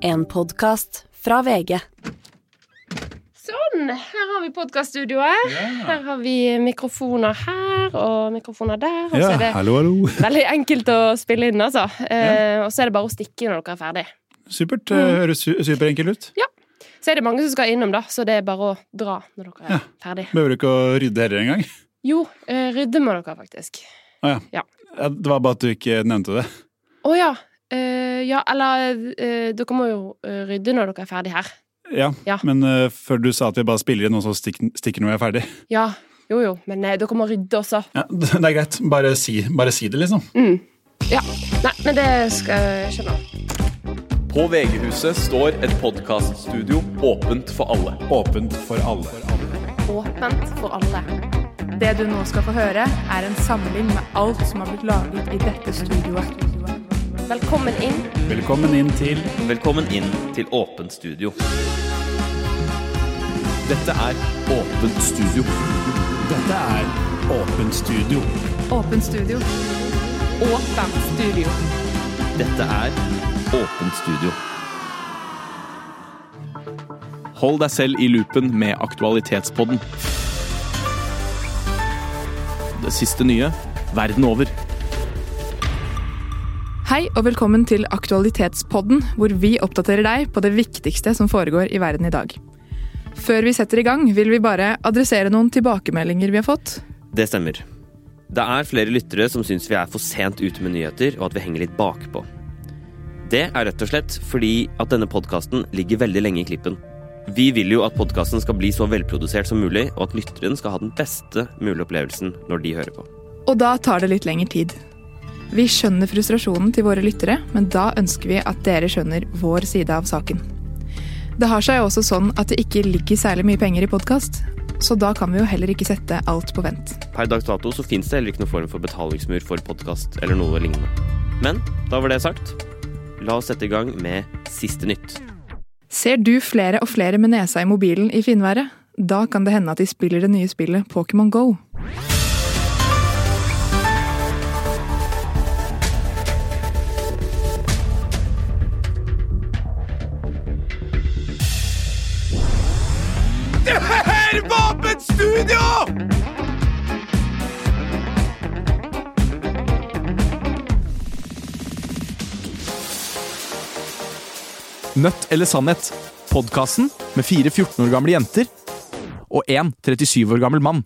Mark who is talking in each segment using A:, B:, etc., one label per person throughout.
A: En podkast fra VG.
B: Sånn, her har vi podkaststudioet. Her har vi mikrofoner her og mikrofoner der. Og så
C: Ja,
B: er det
C: hallo, hallo.
B: veldig enkelt å spille inn, altså. Eh, og så er det bare å stikke når dere er ferdig.
C: Supert. eh,
B: Mm.
C: Høres su- superenkelt ut.
B: Så er det mange som skal innom, da, så det er bare å dra når dere er ferdig.
C: Behøver ikke å rydde heller engang.
B: Jo, eh, rydde må dere faktisk.
C: Ah,
B: Ja.
C: ja. Ja, Det var bare at du ikke nevnte det.
B: Å ja. Eh, ja, eller eh, dere må jo eh, rydde når dere er ferdig her.
C: Ja,
B: Ja.
C: Men eh, før du sa at vi bare spiller inn, og så stikker, stikker når vi er ferdig.
B: Ja. Jo, jo, men eh, dere må rydde også.
C: Ja, Det er greit. Bare si, bare si det, liksom.
B: Mm. Ja. Nei, men det skal jeg skjønne.
D: På VG-huset står et podkaststudio åpent for alle.
C: Åpent for alle.
B: Åpent for alle.
E: Det du nå skal få høre, er en samling med alt som har blitt laget i dette studioet.
B: Velkommen inn.
C: Velkommen inn til
D: Velkommen inn til Åpent studio. Dette er Åpent studio.
C: Dette er Åpent studio.
E: Åpen studio. Åpen studio.
D: Dette er Åpent studio. Hold deg selv i loopen med Aktualitetspodden. Det siste nye verden over.
E: Hei og velkommen til Aktualitetspodden, hvor vi oppdaterer deg på det viktigste som foregår i verden i dag. Før vi setter i gang, vil vi bare adressere noen tilbakemeldinger vi har fått.
F: Det stemmer. Det er flere lyttere som syns vi er for sent ute med nyheter, og at vi henger litt bakpå. Det er rett og slett fordi at denne podkasten ligger veldig lenge i klippen. Vi vil jo at podkasten skal bli så velprodusert som mulig, og at lytteren skal ha den beste mulige opplevelsen når de hører på.
E: Og da tar det litt lengre tid. Vi skjønner frustrasjonen til våre lyttere, men da ønsker vi at dere skjønner vår side av saken. Det har seg jo også sånn at det ikke ligger særlig mye penger i podkast, så da kan vi jo heller ikke sette alt på vent.
F: Per dags dato så fins det heller ikke noen form for betalingsmur for podkast eller noe lignende. Men da var det sagt. La oss sette i gang med siste nytt.
E: Ser du flere og flere med nesa i mobilen i finværet? Da kan det hende at de spiller det nye spillet Pokémon Go.
G: Nødt eller sannhet? Podkasten med fire 14 år gamle jenter og en 37 år gammel mann.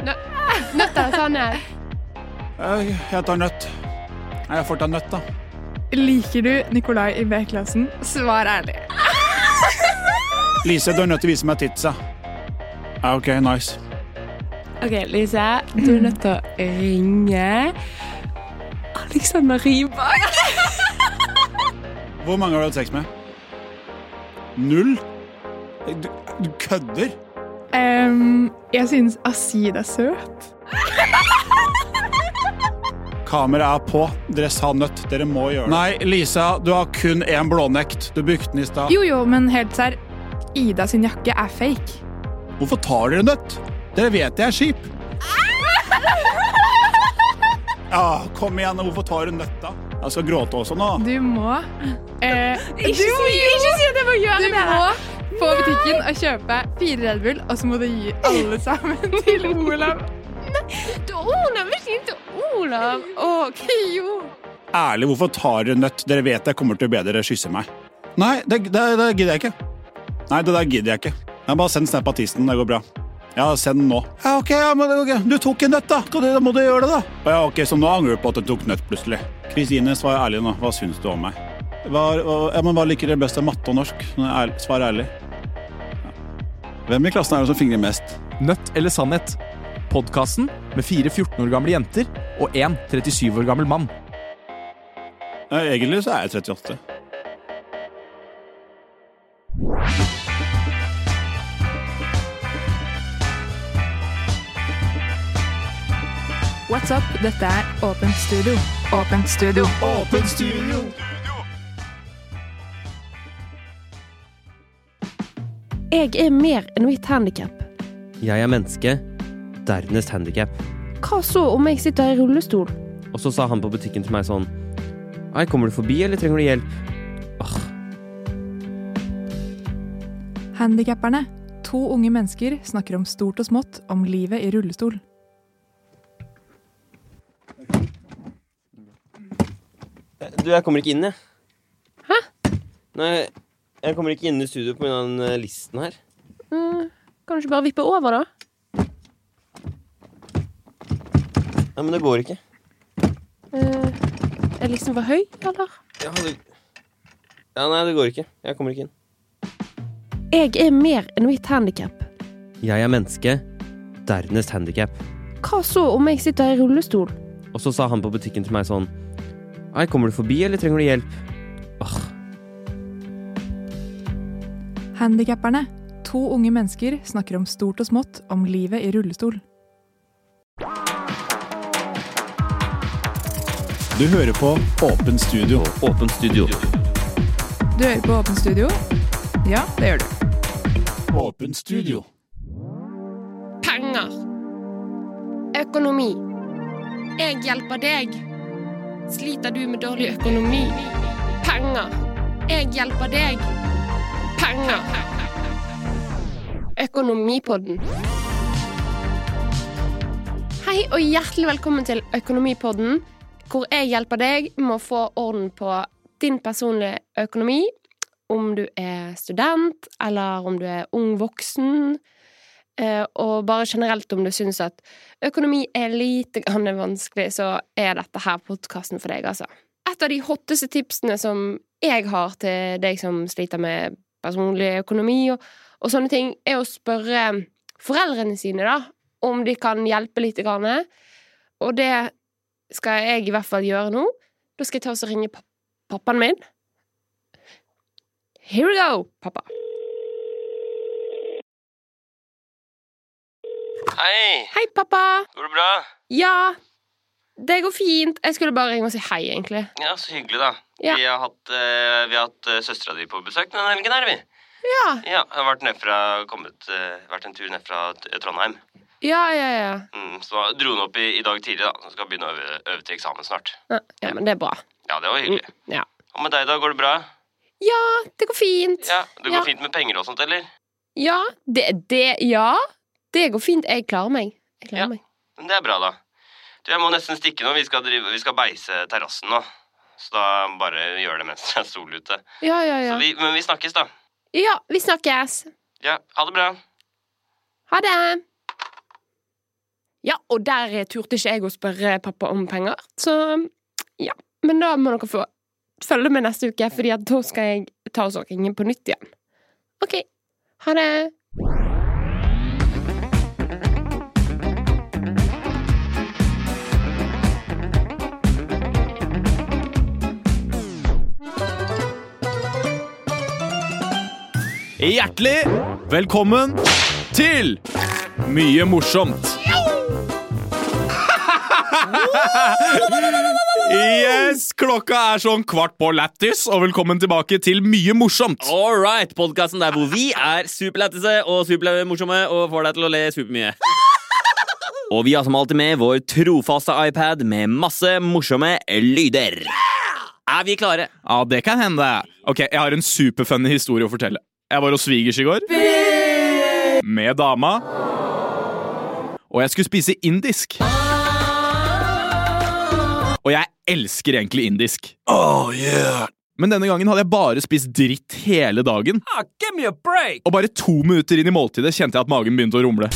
B: Nøtter og sannhet.
C: Jeg tar nøtt. Nei, jeg får ta nøtt, da.
E: Liker du Nikolai i B-klassen? Svar ærlig.
C: Lise, du er nødt til å vise meg titsa. Ja, ok, nice.
H: Ok, Lise, du er nødt til å ringe Alexander Rybak.
C: Hvor mange har du hatt sex med? Null? Du, du kødder?
E: Ehm, jeg synes Asid er søt.
C: Kameraet er på. Dere sa nødt. Dere må gjøre det. Nei, Lisa, du har kun én blånekt. Du brukte den i stad.
E: Jo jo, men helt serr. Ida sin jakke er fake.
C: Hvorfor tar dere nødt? Dere vet jeg er skip. Ja, kom igjen. nå. Hvorfor tar du nøtt, da? Jeg skal gråte også nå.
E: Du må eh,
H: Ikke si- ikke si at jeg må gjøre
E: Du
H: det!
E: må på butikken og kjøpe fire Red Bull, og så må du gi alle sammen til Olav.
H: Du, Olav, vi sier Olav. Ok, jo.
C: Ærlig, hvorfor tar dere nøtt? Dere vet jeg kommer til å be dere kysse meg. Nei, det, det, det gidder jeg ikke. Nei, det der gidder jeg ikke. Jeg bare send snap av tissen. Det går bra. Ja, send den nå. Ja, ok, ja, men, ok. Du tok en nøtt, da. Skal du- Da må du gjøre det, da. Ja, ok, Så nå angrer du på at du tok nøtt plutselig. Kristine, svar ærlig nå. Hva syns du om meg? Hva, hva- ja, men hva liker dere best av matte og norsk? Nå er ærlig- Svar ærlig. Ja. Hvem i klassen er det som fingrer mest?
G: Nødt eller sannhet? Podkasten med fire 14 år gamle jenter og en 37 år gammel mann.
C: Ja, egentlig så er jeg 38.
E: What's up? Dette er Åpent studio. Åpent studio.
C: Åpent studio!
B: Jeg er mer enn mitt handikap.
F: Jeg er menneske, dernest handikap.
B: Hva så om jeg sitter i rullestol?
F: Og så sa han på butikken til meg sånn Hei, kommer du forbi, eller trenger du hjelp? Åh,
E: Handikapperne. To unge mennesker snakker om stort og smått om livet i rullestol.
F: Du, jeg kommer ikke inn, jeg. Hæ? Nei, jeg kommer ikke inn i studio pga. den eh, listen her.
B: Kan du ikke bare vippe over, da?
F: Nei, men det går ikke.
B: Eh, er listen for høy, eller?
F: Jeg hadde... Ja, nei, det går ikke. Jeg kommer ikke inn.
B: Jeg er mer enn mitt handikap.
F: Jeg er menneske, dernest handikap.
B: Hva så om jeg sitter i rullestol?
F: Og så sa han på butikken til meg sånn Hei, kommer du forbi, eller trenger du hjelp? Åh,
E: Handikapperne. To unge mennesker snakker om stort og smått om livet i rullestol.
C: Du hører på Åpen studio.
F: åpent studio.
E: Du hører på Åpen studio? Ja, det gjør du.
C: Åpen studio.
H: Penger. Økonomi. Jeg hjelper deg. Sliter du med dårlig økonomi? Penger. Jeg hjelper deg. Penger. Økonomipodden.
B: Hei og hjertelig velkommen til Økonomipodden, hvor jeg hjelper deg med å få orden på din personlige økonomi, om du er student, eller om du er ung voksen, eh, og bare generelt om du syns at økonomi er lite grann vanskelig, så er dette her podkasten for deg, altså. Et av de hotteste tipsene som jeg har til deg som sliter med personlig økonomi og, og sånne ting, er å spørre foreldrene sine, da, om de kan hjelpe litt. Grann. Og det skal jeg i hvert fall gjøre nå. Da skal jeg ta oss og ringe pa- pappaen min. Here we go, pappa.
F: Hei,
B: Hei, pappa.
F: går det bra?
B: Ja, det går fint. Jeg skulle bare ringe og si hei, egentlig.
F: Ja, så hyggelig, da.
B: Ja.
F: Vi har hatt, eh, vi har hatt eh, søstera di på besøk denne helgen, her, vi.
B: Ja,
F: Ja, har vært, ned fra, kommet, eh, vært en tur ned fra T- eh, Trondheim.
B: ja, ja. ja.
F: Mm, så dro hun opp i, i dag tidlig, da. Så skal begynne å øve, øve til eksamen snart.
B: Ja, ja men det er bra.
F: Ja, det var hyggelig.
B: Mm, Ja.
F: Og med deg, da? Går det bra?
B: Ja, det går fint.
F: Ja, Det går
B: Ja.
F: fint med penger og sånt, eller?
B: Ja, det, det Ja, det går fint. Jeg klarer meg. Jeg klarer
F: Ja.
B: meg.
F: Men det er bra, da. Du, jeg må nesten stikke nå. Vi skal, drive, vi skal beise terrassen nå. Så da bare gjør det mens det er sol ute.
B: Ja, ja,
F: Så
B: ja.
F: vi, men vi snakkes, da.
B: Ja, vi snakkes.
F: Ja, ha det bra.
B: Ha det! Ja, og der turte ikke jeg å spørre pappa om penger, så ja. Men da må dere få følge med neste uke, fordi at da skal jeg ta oss og ringe på nytt igjen. OK. Ha det!
G: Hjertelig velkommen til Mye morsomt. Yes, klokka er sånn kvart på lættis, og velkommen tilbake til Mye morsomt.
I: All right, podkasten der hvor vi er superlættise og supermorsomme og får deg til å le supermye. Og vi har som alltid med vår trofaste iPad med masse morsomme lyder. Er vi klare?
G: Ja, det kan hende. Ok, jeg har en superfunny historie å fortelle. Jeg var hos svigers i går. Med dama. Og jeg skulle spise indisk. Og jeg elsker egentlig indisk. Men denne gangen hadde jeg bare spist dritt hele dagen. Og bare to minutter inn i måltidet kjente jeg at magen begynte å rumle.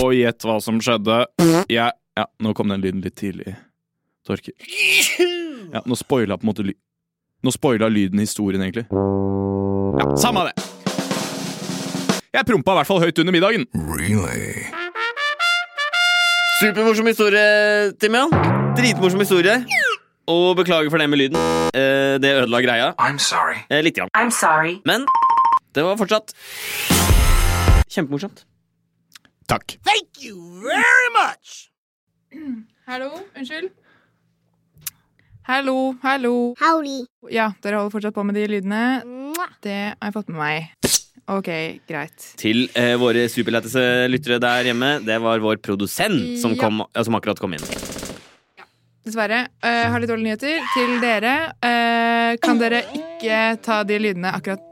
G: Og gjett hva som skjedde. Jeg Ja, nå kom den lyden litt tidlig. Torker. Ja, nå spoila på en måte ly Nå spoila lyden historien, egentlig. Ja, samme det. Jeg prompa i hvert fall høyt under middagen.
I: Supermorsom historie, Timian. Dritmorsom historie. Og beklager for det med lyden. Eh, det ødela greia. I'm sorry. Eh, litt. Grann. Men det var fortsatt kjempemorsomt.
G: Takk.
E: Hallo, unnskyld. Hallo, hallo.
J: Howdy.
E: Ja, dere holder fortsatt på med de lydene. Det har jeg fått med meg. Ok, greit.
I: Til eh, våre superlættise lyttere der hjemme. Det var vår produsent som,
E: Ja.
I: kom, ja, som akkurat kom inn.
E: dessverre. Eh, har litt dårlige nyheter til dere. Eh, kan dere ikke ta de lydene akkurat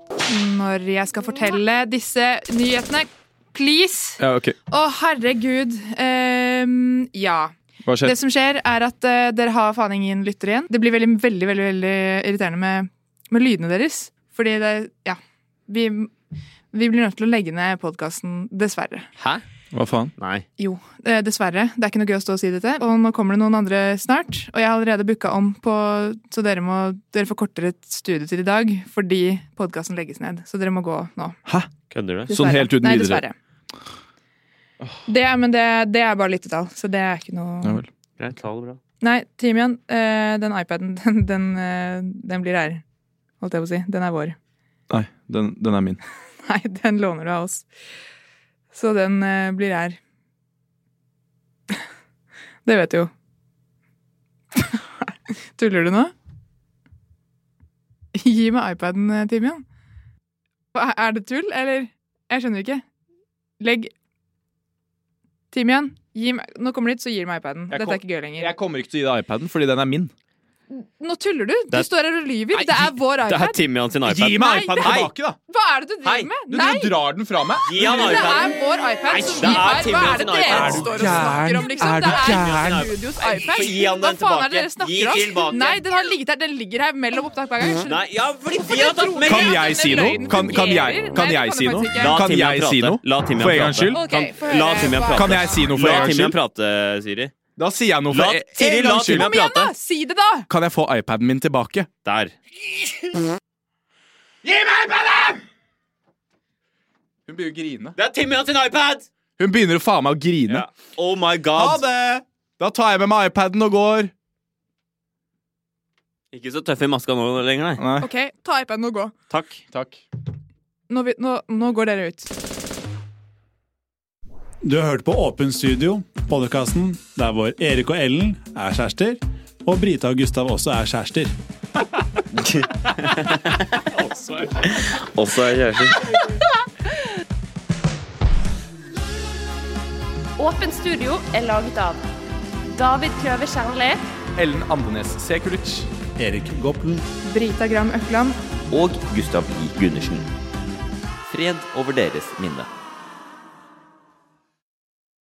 E: når jeg skal fortelle disse nyhetene? Please!
G: Ja, ok.
E: Å, herregud. Ehm, ja.
G: Hva skjer?
E: Det som skjer, er at eh, dere har faen ingen lytter igjen. Det blir veldig, veldig, veldig, veldig irriterende med, med lydene deres. Fordi det Ja. Vi, vi blir nødt til å legge ned podkasten, dessverre.
I: Hæ?
G: Hva faen?
I: Nei.
E: Jo, eh, dessverre. Det er ikke noe gøy å stå og si dette. Og nå kommer det noen andre snart. Og jeg har allerede booka om på Så dere må Dere får kortere studietur i dag fordi podkasten legges ned. Så dere må gå nå.
I: Kødder du?
E: Dessverre.
G: Sånn helt uten
E: Nei,
G: videre.
E: dessverre. Det er, men det, det er bare lyttetall, så det er ikke noe
G: Ja vel.
I: Greit, ta det bra.
E: Nei, Timian, eh, den iPaden, den, den, eh, den blir her. Holdt jeg på å si. Den er vår.
G: Nei, den, den er min.
E: Nei, den låner du av oss. Så den eh, blir her. Det vet du jo. Tuller du nå? Gi meg iPaden, eh, Timian. Hva- Er det tull, eller? Jeg skjønner ikke. Legg Timian, gi meg Nå kommer du hit, så gir du meg iPaden.
G: Jeg
E: Dette
G: kom-
E: er ikke gøy lenger.
G: Jeg kommer ikke til å gi deg iPaden, fordi den er min.
E: Nå tuller du! Du
I: Det er-
E: står her og lyver.
I: Nei,
E: det er vår
I: Det er
E: iPad.
I: Timian sin iPad.
G: Gi meg
E: Nei,
G: iPaden
I: nei.
G: tilbake, da!
E: Hva er det du
I: Hei,
E: driver med?
G: Du,
E: Nei!
G: du drar den fra meg.
I: Gi han
E: Det
I: iPaden.
E: er vår iPad
I: Nei,
E: som
I: det
E: vi
I: er
E: har. Hva
I: Timian
E: er det
I: sin iPad.
E: dere
I: Er du
E: står og
G: gæren?
E: snakker om, liksom?
G: Er du
E: Det er
G: gæren?
E: Studios
I: Nei, gi han
E: iPad. Hva
I: den
E: faen er det dere
I: tilbake. Gi
E: snakker
I: tilbake.
E: om? Nei, den har ligget her. Den ligger her mellom opptak hver gang. Skjønner
I: Nei, ja, fordi vi har tatt
E: tror
I: med
E: jeg
G: Kan
E: at
G: jeg
E: denne
G: si noe?
E: løgnen
G: Kan, kan jeg,
E: fungerer?
G: kan
E: Nei,
G: jeg
E: det
G: si
E: kan du
G: noe?
E: faktisk
I: La
E: ikke.
G: Kan
I: Timian
G: jeg si
I: prate.
G: noe?
I: La Timian
G: For en gangs
I: prate.
G: skyld.
E: Ok,
I: Kan-
E: få høre.
I: La Timian prate.
G: Kan jeg si noe for
I: La
G: en gangs skyld?
I: Timian prate, Siri.
G: Da sier jeg noe
I: La-
G: for
I: Siri,
G: en
I: la
G: gangs skyld.
I: Timian
E: Kom igjen, da!
I: prate.
E: Si det, da!
G: Kan jeg få iPaden min tilbake?
I: Der.
G: Hun begynner å grine.
I: Det er Timian sin iPad!
G: Hun begynner å faen meg å grine.
I: Oh
G: Ha
I: my god.
G: det! Da tar jeg med meg iPaden og går.
I: Ikke så tøff i maska nå lenger, nei.
G: Nei.
E: OK, ta iPaden og gå.
I: Takk.
G: Takk.
E: Nå, vi- nå, nå går dere ut.
C: Du har hørt på Åpen Studio, podkasten der hvor Erik og Ellen er kjærester, og Brita og Gustav også er kjærester.
I: Også er kjærester.
B: Åpent studio er laget av David Kløve Kjernli.
G: Ellen Andenes Sekulic.
C: Erik Goppel.
E: Brita Gram Økland.
I: Og Gustav Lie Gundersen. Fred over deres minne.